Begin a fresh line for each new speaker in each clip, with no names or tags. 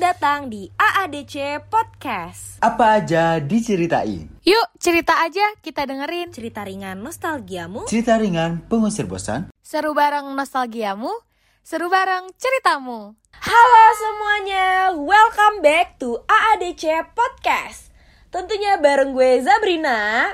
datang di AADC Podcast.
Apa aja diceritain?
Yuk, cerita aja kita dengerin.
Cerita ringan nostalgiamu.
Cerita ringan pengusir bosan.
Seru bareng nostalgiamu, seru bareng ceritamu.
Halo semuanya, welcome back to AADC Podcast. Tentunya bareng gue Zabrina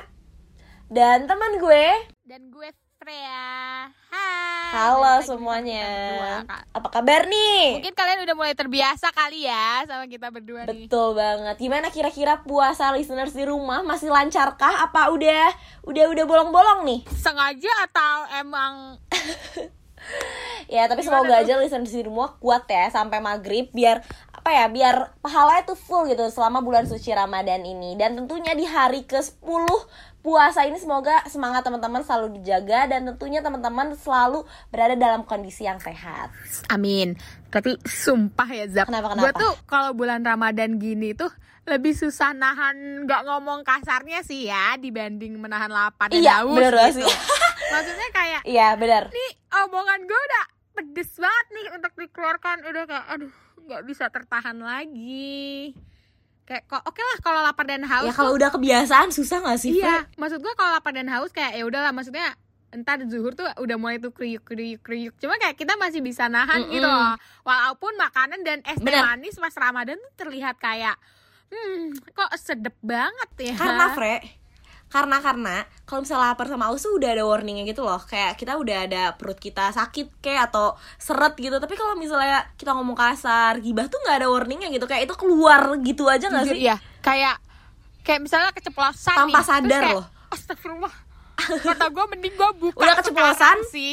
dan teman gue.
Dan gue Freya. Hai.
Halo
Balik lagi sama
semuanya.
kita berdua, Kak.
Apa kabar nih?
Mungkin kalian udah mulai terbiasa kali ya sama kita berdua nih.
Betul banget. Gimana kira-kira puasa listeners di rumah masih lancarkah? Apa udah udah udah bolong-bolong nih?
Sengaja atau emang
Ya, tapi
Gimana
semoga
tuh?
aja listeners di rumah kuat ya sampai maghrib biar apa ya, biar pahalanya tuh full gitu selama bulan suci Ramadan ini. Dan tentunya di hari ke-10 puasa ini semoga semangat teman-teman selalu dijaga dan tentunya teman-teman selalu berada dalam kondisi yang sehat.
Amin. Tapi sumpah ya Zab.
Kenapa,
Gue
kenapa?
tuh kalau bulan Ramadan gini tuh lebih susah nahan nggak ngomong kasarnya sih ya dibanding menahan lapar dan
Iya,
haus
bener banget
gitu.
sih.
Maksudnya kayak
Iya, benar.
nih omongan gue udah pedes banget nih untuk dikeluarkan udah kayak aduh nggak bisa tertahan lagi kayak kok oke lah kalau lapar dan haus
Ya kalau
tuh-
udah kebiasaan susah gak sih? Fe?
iya maksud gue kalau lapar dan haus kayak ya udahlah maksudnya entar zuhur tuh udah mulai tuh kriuk kriuk kriuk cuma kayak kita masih bisa nahan
Mm-mm.
gitu loh walaupun makanan dan es teh
Bener.
manis pas ramadan tuh terlihat kayak hmm kok sedep banget ya
karena Fre karena karena kalau misalnya lapar sama haus tuh udah ada warningnya gitu loh kayak kita udah ada perut kita sakit kayak atau seret gitu tapi kalau misalnya kita ngomong kasar gibah tuh nggak ada warningnya gitu kayak itu keluar gitu aja nggak
Jujur,
sih
iya. kayak kayak misalnya keceplosan
Tanpa
nih. Terus
sadar
kayak,
loh.
astagfirullah kata gue mending gue buka
Udah keceplosan?
sekarang sih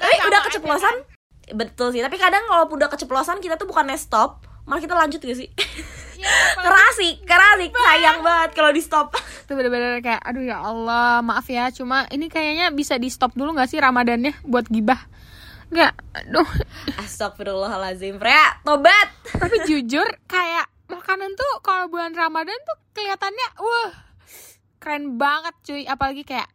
tapi udah keceplosan
kan?
betul sih tapi kadang kalau udah keceplosan kita tuh bukannya stop malah kita lanjut gak sih
iya,
kerasi kerasi sayang banget kalau di stop
itu bener-bener kayak aduh ya Allah maaf ya cuma ini kayaknya bisa di stop dulu nggak sih ramadannya buat gibah nggak aduh
Astagfirullahalazim Fre tobat
tapi jujur kayak makanan tuh kalau bulan ramadan tuh kelihatannya wah keren banget cuy apalagi kayak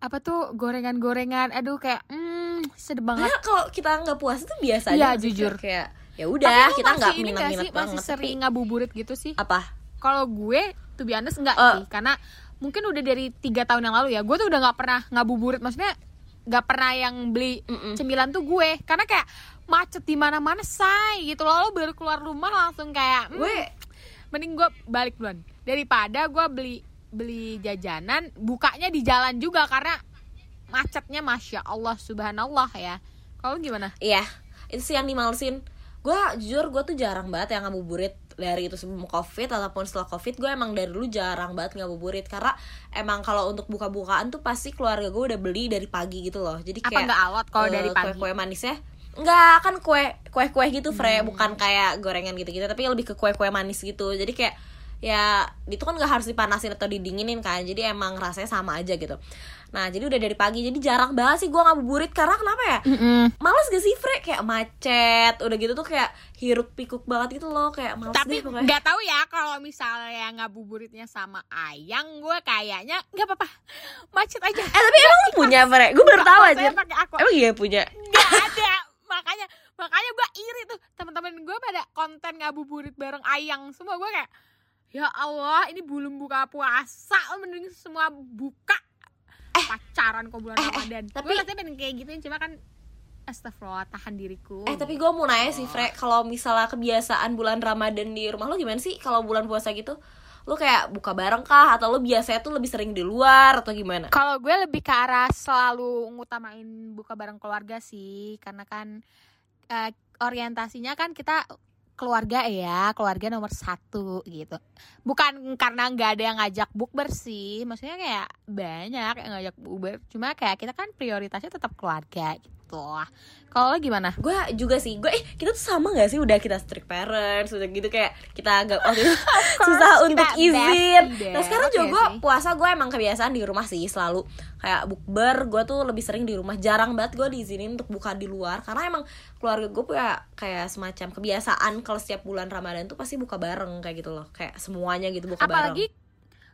apa tuh gorengan-gorengan aduh kayak hmm sedep banget
Padahal kalau kita nggak puas tuh biasa
Iya,
aja nggak sih,
jujur.
Fre? kayak ya
Tapi
udah
lu
kita
masih
nggak
ini
minat minat
sih,
banget
masih
tapi-
sering ngabuburit gitu sih
apa
kalau gue tuh biasa enggak
Eh.
sih karena mungkin udah dari tiga tahun yang lalu ya gue tuh udah nggak pernah ngabuburit maksudnya nggak pernah yang beli
Mm-mm.
cemilan tuh gue karena kayak macet di mana-mana say gitu loh lo baru keluar rumah langsung kayak "Hmm,
gue
mending gue balik duluan daripada gue beli beli jajanan bukanya di jalan juga karena macetnya masya Allah subhanallah ya kalau gimana
iya itu sih yang dimalesin gue jujur gue tuh jarang banget yang ngabuburit dari itu sebelum covid ataupun setelah covid gue emang dari dulu jarang banget ngabuburit karena emang kalau untuk buka-bukaan tuh pasti keluarga gue udah beli dari pagi gitu loh jadi
Apa
kayak
nggak alot kalau
eh,
dari pagi?
kue-kue manisnya Enggak, kan kue kue kue gitu Fre
Hmm.
bukan kayak gorengan gitu-gitu tapi lebih ke kue-kue manis gitu jadi kayak ya itu kan nggak harus dipanasin atau didinginin kan jadi emang rasanya sama aja gitu nah jadi udah dari pagi jadi jarang banget sih gue ngabuburit karena kenapa ya males gak sih Fre kayak macet udah gitu tuh kayak hiruk pikuk banget gitu loh kayak males
tapi
deh pokoknya
nggak tahu ya kalau misalnya ngabuburitnya sama ayang gue kayaknya nggak apa-apa macet aja
eh tapi emang lu punya Fre gue baru tahu aja
Saya pakai aku
emang iya punya
nggak ada makanya makanya gue iri tuh teman-teman gue pada konten ngabuburit bareng ayang semua gue kayak ya Allah ini belum buka puasa lo mending semua buka pacaran kok bulan
eh, eh,
Ramadan
tapi-
gue rasanya pengen kayak gituin cuma kan Astagfirullah tahan diriku
eh tapi gue mau nanya sih Fre kalau misalnya kebiasaan bulan Ramadan di rumah lu gimana sih kalau bulan puasa gitu lu kayak buka bareng kah atau lu biasanya tuh lebih sering di luar atau gimana
Kalau gue lebih ke arah selalu ngutamain buka bareng keluarga sih, karena kan eh, orientasinya kan kita keluarga ya, keluarga nomor satu gitu. Bukan karena nggak ada yang ngajak bukber sih, maksudnya kayak banyak yang ngajak bukber, cuma kayak kita kan prioritasnya tetap keluarga gitu. Kalau lo gimana?
gue juga sih gue eh kita tuh sama gak sih udah kita strict parents udah gitu kayak kita agak waktu itu susah
kita
untuk
bestie
izin
deh.
nah sekarang juga
Oke
gue
sih.
puasa gue emang kebiasaan di rumah sih selalu kayak bukber gue tuh lebih sering di rumah jarang banget gue diizinin untuk buka di luar karena emang keluarga gue punya kayak semacam kebiasaan kalau setiap bulan ramadan tuh pasti buka bareng kayak gitu loh kayak semuanya gitu buka bareng
Apalagi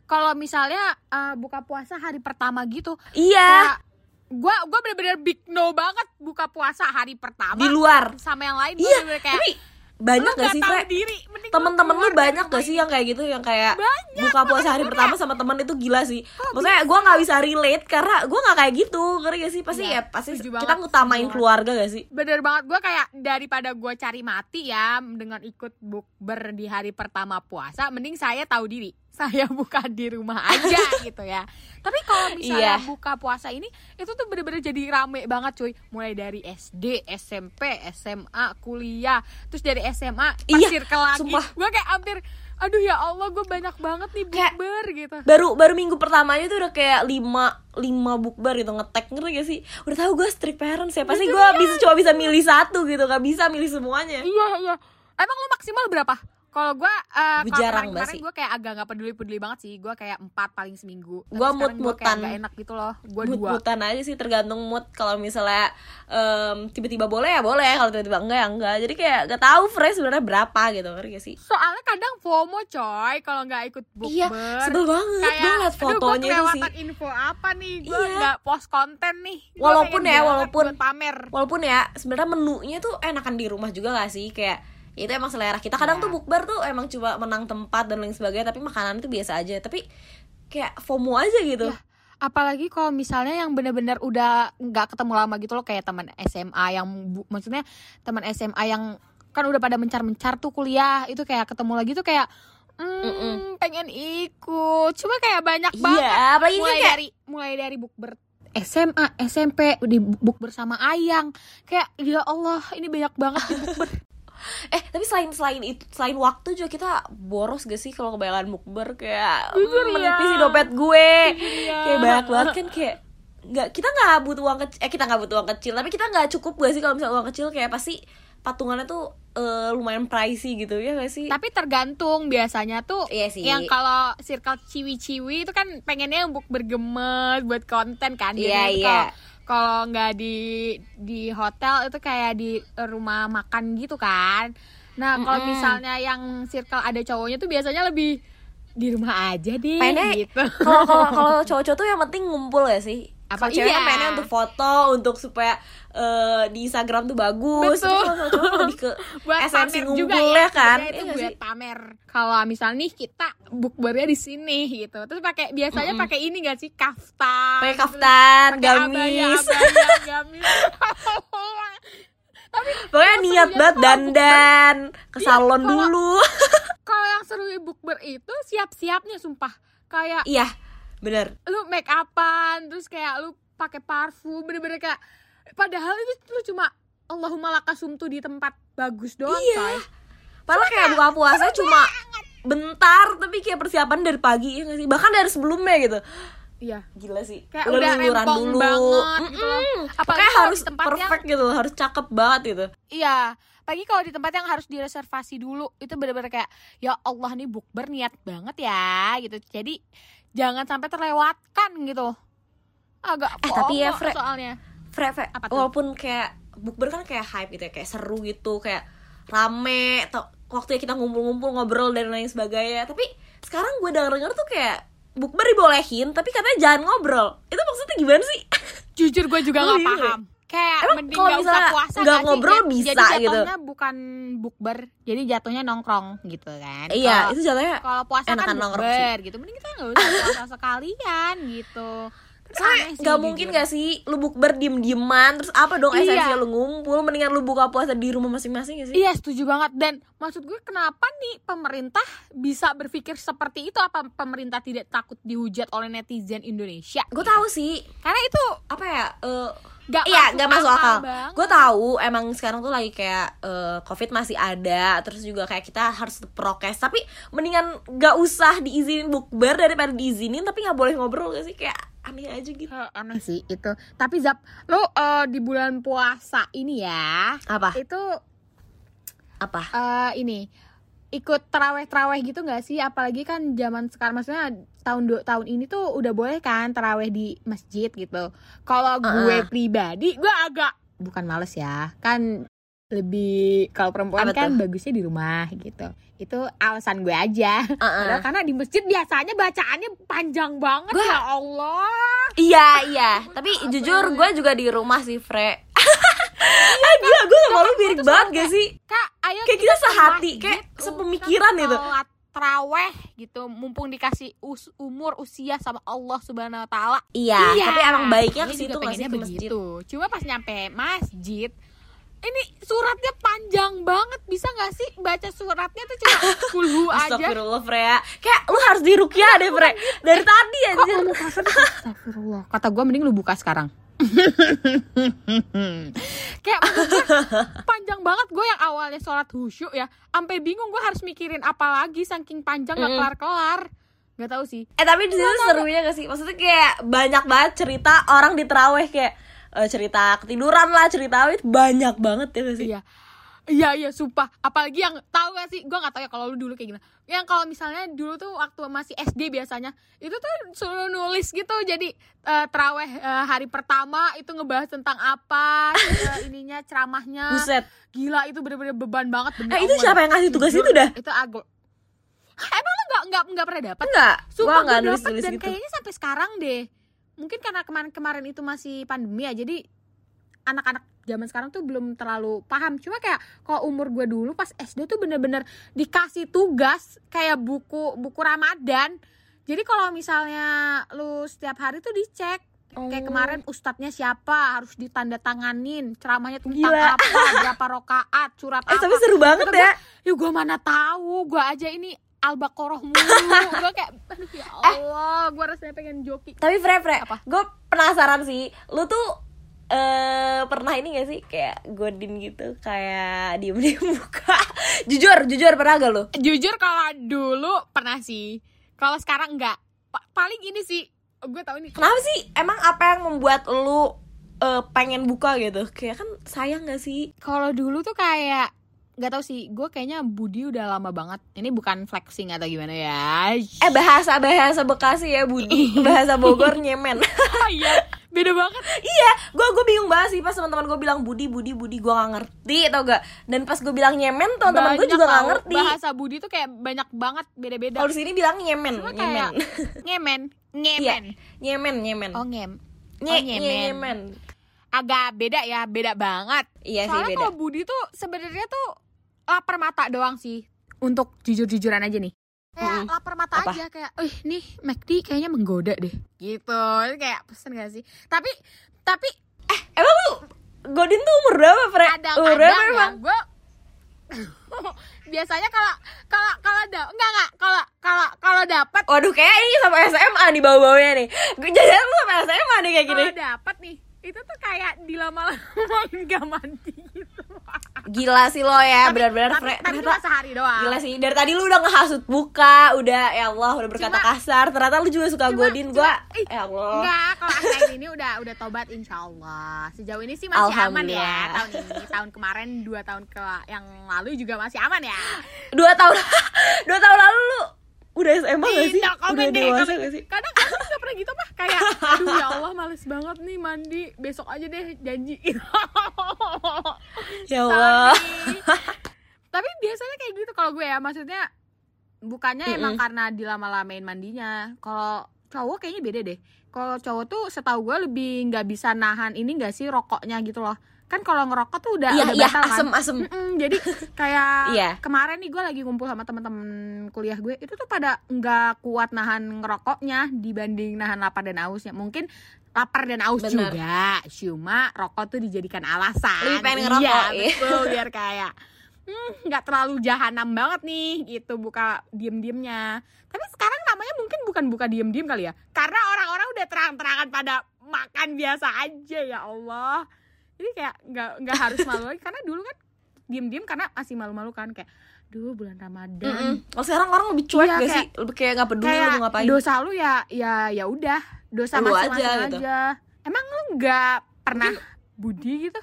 kalau misalnya eh, buka puasa hari pertama gitu,
iya
kayak gue gue bener-bener big no banget buka puasa hari pertama
di luar
sama yang lain gue
Iya,
bener-bener kayak
tapi
Lu
banyak gak
nggak
sih
tahu
Fre?
diri. Mending lu
temen-temen lu
keluar dari
banyak gak
rumah
sih yang kayak gitu yang kayak
Banyak,
buka puasa hari pertama sama temen itu gila sih maksudnya gue nggak bisa relate karena gue nggak kayak gitu ngerti gak sih pasti
Iya,
ya pasti
setuju
kita
banget, Iya.
ngutamain
setuju
keluarga gak sih
Bener banget gue kayak daripada gue cari mati ya dengan ikut bukber di hari pertama puasa, mending saya tahu diri. Saya buka di rumah aja gitu ya. Tapi kalau
Iya.
misalnya buka puasa ini itu tuh bener-bener jadi rame banget cuy. Mulai dari SD, SMP, SMA, kuliah, terus dari SMA pas
Iya,
circle lagi.
sumpah.
Gue kayak hampir aduh ya Allah gue banyak banget nih
Kayak-
bukber gitu.
baru baru minggu pertamanya tuh udah kayak lima lima bukber gitu ngetek ngerti gak sih udah tahu gue strict parents ya pasti gue bisa cuma bisa milih satu gitu nggak bisa milih semuanya
Iya iya. Emang lu maksimal berapa? Kalau gua eh
Gua
kalau
jarang banget
kemarin
sih.
gue kayak agak nggak peduli-peduli banget sih. Gua kayak empat paling seminggu. Tapi
Gua
sekarang gua kayak
mut-mutan.
nggak enak gitu loh. Gua dua.
mut-mutan aja sih tergantung mood kalau misalnya em, tiba-tiba boleh ya boleh kalau tiba-tiba enggak ya enggak jadi kayak gak tahu fresh sebenarnya berapa gitu ngerti gak sih
Soalnya kadang FOMO coy kalau nggak ikut bukber.
Iya, sebel banget. Gua ngeliat
aduh, gua
fotonya itu sih.
kelewatan info apa nih? Gua
Iya.
nggak post konten nih. Gua
Walaupun
pengen
ya,
banget
walaupun-
buat pamer.
walaupun ya sebenarnya menunya tuh enakan di rumah juga gak sih kayak ya itu emang selera kita kadang
Iya.
tuh bukber tuh emang cuma menang tempat dan lain sebagainya tapi makanan itu biasa aja tapi kayak FOMO aja gitu
Iya. apalagi kalau misalnya yang bener-bener udah nggak ketemu lama gitu loh kayak teman SMA yang bu- maksudnya teman SMA yang kan udah pada mencar-mencar tuh kuliah itu kayak ketemu lagi tuh kayak "Mm,
Mm-mm.
pengen ikut cuma kayak banyak banget
iya apalagi kan
mulai
kayak
dari mulai dari bukber SMA SMP di bukber sama Ayang kayak ya Allah ini banyak banget di bukber
eh tapi selain selain itu selain waktu juga kita boros gak sih kalau kebanyakan mukber kayak mm,
Jujur ya.
menipis di dompet gue
ya.
kayak banyak banget kan kayak nggak kita nggak butuh uang kecil eh kita nggak butuh uang kecil tapi kita nggak cukup gak sih kalau misalnya uang kecil kayak pasti patungannya tuh eh, lumayan pricey gitu ya gak sih
tapi tergantung biasanya tuh
Iya sih.
yang kalau circle ciwi-ciwi itu kan pengennya yang book bergemes buat konten kan
Iya,
Biasanya tuh
iya.
kalau- kalau nggak di di hotel itu kayak di rumah makan gitu kan nah kalau
Mm-mm.
misalnya yang circle ada cowoknya tuh biasanya lebih di rumah aja deh
Pengennya-
gitu
kalau kalau kalau cowok-cowok tuh yang penting ngumpul ya sih
Apa-
apa cewek kan
iya.
mainnya untuk foto untuk supaya eh, di Instagram tuh bagus
Betul.
Terus kalau cowok lebih ke
buat
esensi
pamer juga
ngumpulnya kan
Sebenarnya itu
Iya nggak
buat
sih?
pamer kalau misalnya nih kita bukbernya di sini gitu terus pakai biasanya
Mm-mm.
pakai ini gak sih kaftan gitu
pakai
terus
kaftan
pakai ya? abaya,
gamis
abaya, gamis tapi
pokoknya
kalau
niat banget
seru ya, kalau
dandan ke salon
kalau-
dulu
bukber- kalau yang seru di bukber itu siap-siapnya sumpah kayak
iya bener
lu make upan terus kayak lu pakai parfum bener-bener kayak padahal itu lu cuma Allahumma lakasumtu di tempat bagus doang coy.
Iya. padahal kayak buka puasa cuma bentar tapi kayak persiapan dari pagi ya nggak sih bahkan dari sebelumnya gitu
Iya.
gila sih
Kayak udah
luluran
rempong banget gitu loh.
Mm-mm.
Apalagi
Pokoknya
kalau
harus
di tempat yang-
perfect gitu loh harus cakep banget gitu
Iya, pagi kalau di tempat yang harus direservasi dulu itu bener-bener kayak ya Allah nih bukber niat banget ya gitu. Jadi jangan sampai terlewatkan gitu. Agak
Eh, tapi ya,
FOMO
Fre-
soalnya.
Fre, Fre,
Apa tuh?
walaupun kayak bukber kan kayak hype gitu ya kayak seru gitu kayak rame atau waktunya kita ngumpul-ngumpul ngobrol dan lain sebagainya tapi sekarang gue denger denger tuh kayak bukber dibolehin tapi katanya jangan ngobrol itu maksudnya gimana sih
Jujur gue juga
Lu
nggak
iya nggak?
paham. Kayak
Emang
mending
kalau
gak usah
misalnya
puasa
nggak
sih?
ngobrol
Jadi-
bisa
jadi
gitu.
jatuhnya bukan bukber, jadi jatuhnya nongkrong gitu kan.
iya
Kalau-
itu jatuhnya
kalau puasa
enakan
kan
nongkrong
bukber gitu. Mending kita nggak usah puasa sekalian gitu. Kan aneh
Soalnya
sih,
gak mungkin
jujur.
gak sih lu bukber diem-dieman Terus apa dong
Iya.
esensinya lu ngumpul Mendingan lu buka puasa di rumah masing-masing gak sih?
Iya setuju banget dan maksud gue kenapa nih pemerintah bisa berpikir seperti itu apa pemerintah tidak takut dihujat oleh netizen Indonesia?
Gue tahu sih
Karena itu
Apa ya eh,
gak
Iya gak masuk akal
banget.
Gue tahu emang sekarang tuh lagi kayak eh, Covid masih ada Terus juga kayak kita harus prokes Tapi mendingan gak usah diizinin bukber Daripada diizinin tapi gak boleh ngobrol gak sih? Kayak aneh aja gitu
Eh, aneh sih itu. Tapi Zap, lo eh, di bulan puasa ini ya
Apa?
itu
Apa?
eh, ini ikut teraweh-teraweh gitu gak sih? Apalagi kan zaman sekarang maksudnya tahun dua tahun ini tuh udah boleh kan teraweh di masjid gitu. Kalau gue
Heeh.
pribadi gue agak bukan males ya. Kan lebih kalau perempuan
Apa
kan bagusnya di rumah gitu. Itu alasan gue aja. Padahal karena di masjid biasanya bacaannya panjang banget
Gua-
ya Allah.
Iya iya Tapi jujur gue juga di rumah sih Fre Eh gila, gue sama
Nyokap
lu
gue
mirip
tuh
banget
selalu
gak sih?
Kak, ayo
Kayak kita
ke
sehati,
masjid,
kayak
gitu.
sepemikiran
Kita
gitu.
sholat Traweh gitu, mumpung dikasih us- umur usia sama Allah Subhanahu Wa Taala.
Iya, tapi emang baiknya ke
Ini
situ
juga
nggak sih
pengennya
ke masjid?
begitu. Cuma pas nyampe masjid, ini suratnya panjang banget. Bisa nggak sih baca suratnya tuh cuma kulhu aja?
Astagfirullah Freya Kayak lu harus dirukyah deh Fre Dari tadi
Kok
aja
kamu kasar? Astagfirullah. Kata gue mending lu buka sekarang. kayak maksud gue, panjang banget gue yang awalnya sholat khusyuk ya sampai bingung gue harus mikirin apa lagi saking panjang gak
Mm-mm.
kelar kelar nggak tahu sih
Eh tapi di situ serunya gak sih? Maksudnya kayak banyak banget cerita orang di terawih kayak eh, cerita ketiduran lah cerita apa itu banyak banget ya gak sih?
Iya. Iya iya sumpah apalagi yang tahu gak sih gue nggak tahu ya kalau lu dulu kayak gimana yang kalau misalnya dulu tuh waktu masih SD biasanya itu tuh suruh nulis gitu jadi eh, teraweh eh, hari pertama itu ngebahas tentang apa eh, ininya ceramahnya
Buset.
gila itu bener-bener beban banget
Eh
bener
itu siapa yang ngasih tugas itu dah?
itu aku emang lu nggak nggak nggak pernah dapat
Enggak. Gua
Sumpah
enggak
gue
nulis
dapet
nulis
dan
gitu.
kayaknya sampai sekarang deh. Mungkin karena kemarin-kemarin itu masih pandemi ya, jadi anak-anak zaman sekarang tuh belum terlalu paham. Cuma kayak kalau umur gue dulu pas SD tuh bener-bener dikasih tugas kayak buku buku Ramadan. Jadi kalau misalnya lu setiap hari tuh dicek Kayak kemarin ustadznya siapa harus ditandatanganin ceramahnya tentang
Gila.
apa berapa rokaat surat
Eh
apa
tapi seru banget
Kata
ya.
ya gue mana tahu gue aja ini al-baqarah mulu gue kayak aduh ya Allah gue rasanya pengen joki
Eh. Tapi Fre Fre,
Apa?
gue penasaran sih. Lu tuh eh pernah ini gak sih kayak godin gitu kayak diem diem buka jujur jujur pernah gak lu
jujur kalau dulu pernah sih kalau sekarang enggak Pa- paling ini sih gue tahu ini
kenapa sih emang apa yang membuat lu eh, pengen buka gitu kayak kan sayang gak sih
kalau dulu tuh kayak nggak tahu sih gue kayaknya Budi udah lama banget ini bukan flexing atau gimana ya
eh bahasa bahasa Bekasi ya Budi bahasa Bogor nyemen
oh, iya beda banget
iya gue gue bingung banget sih pas teman-teman gue bilang Budi Budi Budi gue gak ngerti tau gak dan pas gue bilang nyemen teman-teman gue
Banyak
juga gak
tau.
ngerti
bahasa Budi tuh kayak banyak banget beda-beda
kalau di sini bilang nyemen
Cuma
nyemen
kayak ngemen
iya
ngemen
nyemen nyemen
oh ngem
Nye-
nyemen.
nye- nyemen
agak beda ya beda banget
iya sih
Soalnya
beda
kalau Budi tuh sebenarnya tuh lapar mata doang sih. Untuk jujur-jujuran aja nih. Kayak
Mm-mm.
lapar mata
Apa?
aja kayak, "Eh, nih McD kayaknya menggoda deh." Gitu. Ini Kayak pesen gak sih? Tapi tapi
emang lu Godin tuh umur berapa Fre? umur berapa
kadang-kadang ya
emang?
gue biasanya kalau kalau kalau da- enggak enggak kalau kalau kalau dapat
Waduh kayak ini sama SMA nih bau-baunya nih Gue jajan lu sama SMA nih kayak gini
kalau dapat nih itu tuh kayak dilama-lamain gak mandi gitu.
Gila sih lo ya Eh,
Tapi-
benar-benar
tapi-
Fre
tapi
ternyata
cuma sehari doang.
Gila sih, dari tadi lu udah ngehasut buka, udah ya Allah, udah berkata
Cuma-
kasar. Ternyata lu juga suka
Cuma-
godin
cuma-
gua.
ih,
Ya Allah.
Enggak, kalau akhir ini udah udah tobat insya Allah Sejauh ini sih masih aman ya
Alhamdulillah.
Tahun ini, tahun kemarin, dua tahun ke yang lalu juga masih aman ya
Dua tahun dua tahun lalu lu udah SMA gak sih?
Tidak,
udah
komen deh,
dewasa
komen.
gak sih?
Kadang aku juga pernah gitu mah Kayak, aduh ya Allah males banget nih mandi Besok aja deh, janji
Ya Allah.
Sorry. Tapi biasanya kayak gitu kalau gue ya, maksudnya bukannya
Mm-mm.
emang karena dilama-lamain mandinya. Kalau cowok kayaknya beda deh. Kalau cowok tuh setahu gue lebih nggak bisa nahan ini nggak sih rokoknya gitu loh. Kan kalau ngerokok tuh udah
Iya,
udah
iya,
batal kan.
asem, asem.
Mm-mm, jadi kayak
Iya.
kemarin nih gue lagi ngumpul sama temen-temen kuliah gue itu tuh pada nggak kuat nahan ngerokoknya dibanding nahan lapar dan ausnya mungkin lapar dan aus
Bener.
juga cuma rokok tuh dijadikan alasan
Lebih pengen ngerokok,
iya,
iya.
betul biar kayak "Hmm, nggak terlalu jahanam banget nih gitu buka diem-diemnya tapi sekarang namanya mungkin bukan buka diem-diem kali ya karena orang-orang udah terang-terangan pada makan biasa aja ya Allah jadi kayak nggak nggak harus malu lagi karena dulu kan diem-diem karena masih malu-malu kan kayak duh bulan Ramadan
Mm-mm. Kalau sekarang orang lebih cuek
Iya,
gak
kayak-
sih? Lebih kayak gak peduli lu
kayak
mau ngapain.
dosa lu ya ya ya udah dosa
Lu
masing-masing aja,
aja, gitu.
emang lu nggak pernah budi gitu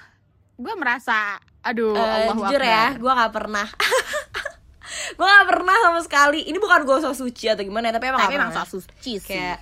gue merasa aduh
Eh,
Allah
jujur ya, gua gak pernah. gua gak pernah sama sekali. Ini bukan gua sok suci atau gimana ya, tapi emang
tapi
gak
emang
pernah.
sok suci sih
Kayak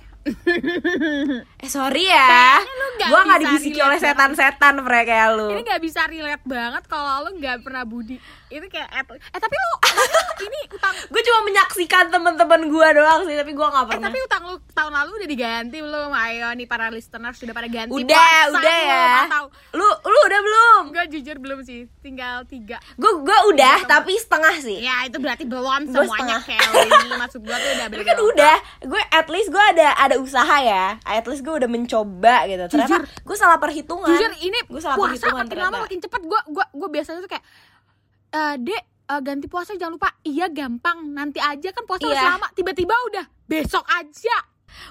Eh sorry ya.
Kayaknya lu nggak
Gua gak
bisa
dibisiki
relate
oleh
banget.
setan-setan Fre kayak lu.
ini nggak bisa relate banget kalau lu nggak pernah budi itu kayak et- eh tapi lu tapi lu ini utang
gue cuma menyaksikan teman-teman gue doang sih tapi gue nggak
eh,
pernah
tapi utang lu tahun lalu udah diganti belum ayo nih para listener sudah pada ganti
udah
puasa
udah
lu,
ya
atau
lu lu udah belum
gue jujur belum sih, tinggal tiga.
gue gue
Iya.
udah tapi setengah sih
Ya itu berarti belum
Gua
semuanya Kelly. Maksud gua tuh udah
tapi kan udah gue at least gue ada ada usaha ya at least gue udah mencoba gitu ternyata gue salah perhitungan
Jujur ini
Gua salah
puasa
perhitungan
makin lama
ternyata.
makin cepet. Gua gua gua biasanya tuh kayak eh Dek eh, ganti puasa jangan lupa iya gampang nanti aja kan puasa masih
Iya.
lama tiba-tiba udah besok aja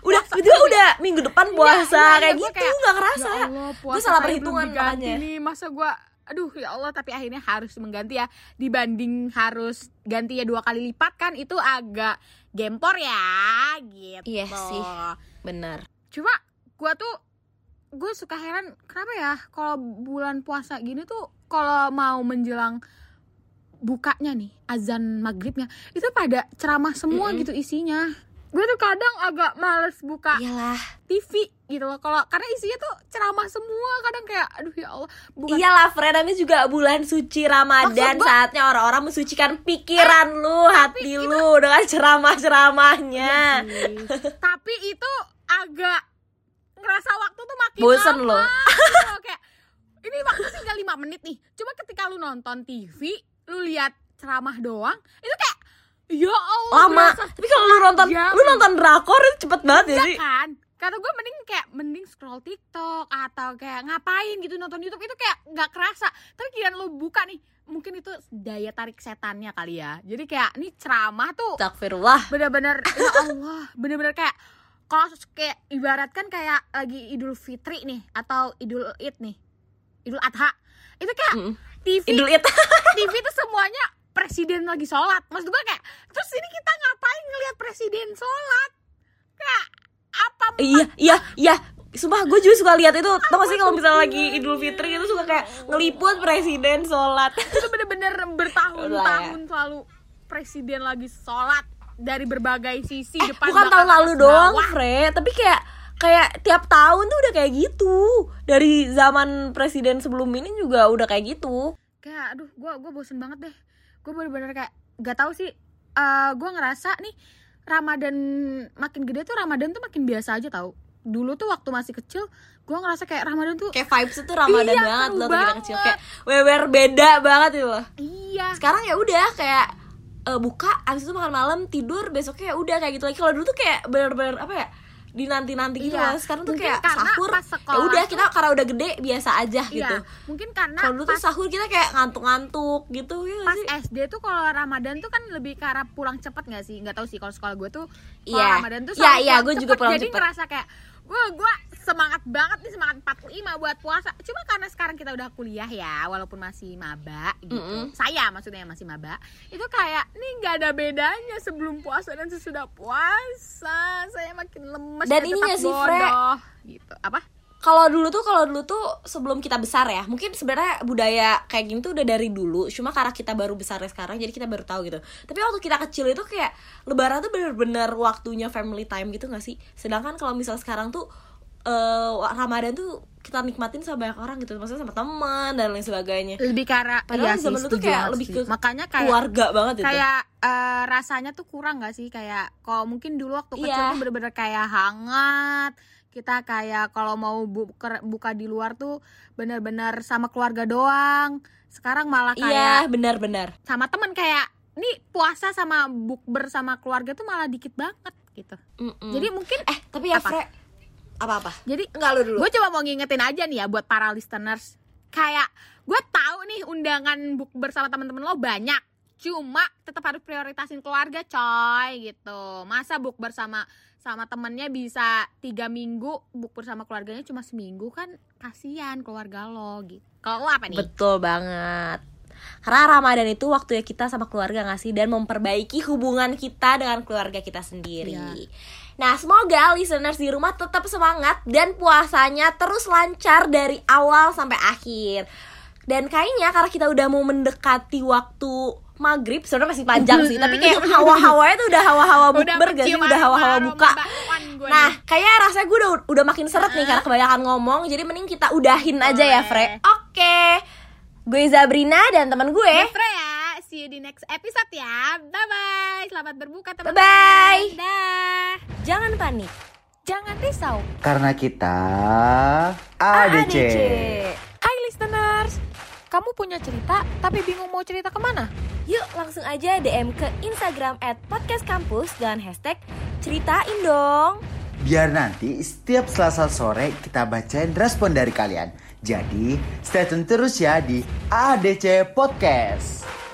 udah tiba udah minggu depan puasa
iya, iya,
kayak
gua
gitu
kayak,
nggak kerasa
Ya Allah, puasa
Gua salah
saya belum
perhitungan
diganti
makanya.
nih. Masa gue aduh ya Allah tapi akhirnya harus mengganti ya dibanding harus ganti ya dua kali lipat kan itu agak gempor ya gitu.
Iya sih. bener
Cuma gue tuh gue suka heran kenapa ya kalau bulan puasa gini tuh kalau mau menjelang bukanya nih azan maghribnya itu pada ceramah semua
Mm-mm.
gitu isinya gue tuh kadang agak males buka
iyalah
TV gitu loh kalau karena isinya tuh ceramah semua kadang kayak aduh ya Allah bukan
iyalah Fred namanya juga bulan suci Ramadan
Maksud gua- Eh,
saatnya orang-orang mensucikan pikiran lu hati lu dengan ceramah-ceramahnya
Ih, tapi itu agak ngerasa waktu tuh makin
Bosen
lama
loh.
gitu loh. kayak ini waktu tinggal 5 menit nih cuma ketika lu nonton TV lu lihat ceramah doang itu kayak ya Allah
lama
berasa
tapi kalau lu nonton
jam.
lu nonton drakor itu cepet banget ya
ya. Iya
sih
kan karena gue mending kayak mending scroll TikTok atau kayak ngapain gitu nonton YouTube itu kayak nggak kerasa tapi kira lo buka nih mungkin itu daya tarik setannya kali ya jadi kayak nih ceramah tuh
Astagfirullah
bener-bener ya Allah bener-bener kayak kalau kayak ibaratkan kayak lagi Idul Fitri nih atau Idul Id nih Idul Adha itu kayak
Mm.
TV
Idul Ita
TV itu semuanya presiden lagi sholat maksud gue kayak terus ini kita ngapain ngelihat presiden sholat kayak apa
iya iya iya Sumpah gue juga suka lihat itu Tau gak sih kalau misalnya lagi Idul Fitri itu suka kayak ngeliput presiden sholat
itu bener-bener bertahun-tahun
Udah ya.
selalu presiden lagi sholat dari berbagai sisi
Eh,
depan
bukan
belakang,
tahun lalu
atas,
doang,
bawah.
Fre. Tapi kayak kayak tiap tahun tuh udah kayak gitu. Dari zaman presiden sebelum ini juga udah kayak gitu.
kayak aduh gue gue bosen banget deh gue bener-bener kayak gak tahu sih eh gue ngerasa nih Ramadan makin gede tuh Ramadan tuh makin biasa aja tau dulu tuh waktu masih kecil gue ngerasa kayak Ramadan tuh
Kayak vibes tuh Ramadan
Iya,
banget
seru
loh tuh kita
banget.
kecil kayak wewer beda banget itu loh.
iya
Sekarang ya udah kayak eh, buka abis itu makan malam tidur besoknya ya udah kayak gitu lagi kalau dulu tuh kayak bener-bener apa ya dinanti-nanti gitu
Iya,
loh sekarang tuh
mungkin
kayak
karena
sahur
pas sekolah
ya udah
tuh-
kita karena udah gede biasa aja gitu
iya mungkin karena
kalau dulu tuh
pas,
sahur kita kayak ngantuk-ngantuk gitu ya nggak
pas
sih?
SD tuh kalau Ramadan tuh kan lebih ke arah pulang cepet gak sih nggak tahu sih kalau sekolah gue tuh kalau
Iya.
Ramadan tuh
Iya,
selalu
iya, gue juga pulang
jadi
cepet.
ngerasa kayak gue gue semangat banget nih semangat 45 buat puasa cuma karena sekarang kita udah kuliah ya walaupun masih maba gitu
Mm-mm.
saya maksudnya yang masih maba itu kayak nih nggak ada bedanya sebelum puasa dan sesudah puasa saya makin lemes
Dan ini
dan tetap
nggak sih, Fre?
bodoh. gitu apa
kalau dulu tuh kalau dulu tuh sebelum kita besar ya mungkin sebenarnya budaya kayak gini tuh udah dari dulu cuma karena kita baru besar sekarang jadi kita baru tahu gitu tapi waktu kita kecil itu kayak lebaran tuh bener-bener waktunya family time gitu gak sih sedangkan kalau misal sekarang tuh eh, ramadan tuh kita nikmatin sama banyak orang gitu maksudnya sama teman dan lain sebagainya
lebih ke arah
Eh, Padahal
iya sih,
zaman dulu tuh
setuju
kayak
banget
lebih
sih.
ke
makanya kayak
keluarga banget gitu
kayak eh, rasanya tuh kurang gak sih kayak kalau mungkin dulu waktu kecil
Iya.
tuh bener-bener kayak hangat kita kayak kalau mau bu- ker- buka di luar tuh bener-bener sama keluarga doang sekarang malah kayak
iya benar-benar
sama temen kayak nih puasa sama bukber sama keluarga tuh malah dikit banget gitu
Mm-mm.
jadi mungkin
eh tapi ya
Apa?
Fre apa-apa
jadi
enggak lu dulu
gue cuma mau ngingetin aja nih ya buat para listeners kayak gue tahu nih undangan book bersama teman-teman lo banyak cuma tetap harus prioritasin keluarga coy gitu masa book bersama sama temennya bisa tiga minggu book bersama keluarganya cuma seminggu kan kasihan keluarga lo gitu kalau lo apa nih
Betul banget. Karena Ramadan itu waktunya kita sama keluarga nggak sih dan memperbaiki hubungan kita dengan keluarga kita sendiri.
Iya.
Nah, semoga listeners di rumah tetap semangat dan puasanya terus lancar dari awal sampai akhir. Dan kayaknya karena kita udah mau mendekati waktu maghrib sebenarnya masih panjang sih tapi kayak hawa-hawanya tuh udah hawa-hawa bukber oh, gak sih
kecium
udah hawa-hawa
aroma
buka
bakwan gua
Nah,
nih.
kayaknya rasanya gue udah udah makin seret nih karena kebanyakan ngomong. Jadi mending kita udahin aja ya, Fre.
Boleh.
Oke. Gue Zabrina dan teman gue.
Bye, Fre ya see you di next episode ya bye bye selamat berbuka teman
Bye-bye.
dah
Nah, Jangan panik.
jangan risau
Karena kita ADC.
ADC.
Hai listeners, Kamu punya cerita tapi bingung mau cerita kemana?
Yuk langsung aja DM ke Instagram at Podcast Kampus dengan hashtag ceritain dong.
Biar nanti setiap Selasa sore kita bacain respon dari kalian. Jadi, stay tune terus ya di ADC Podcast.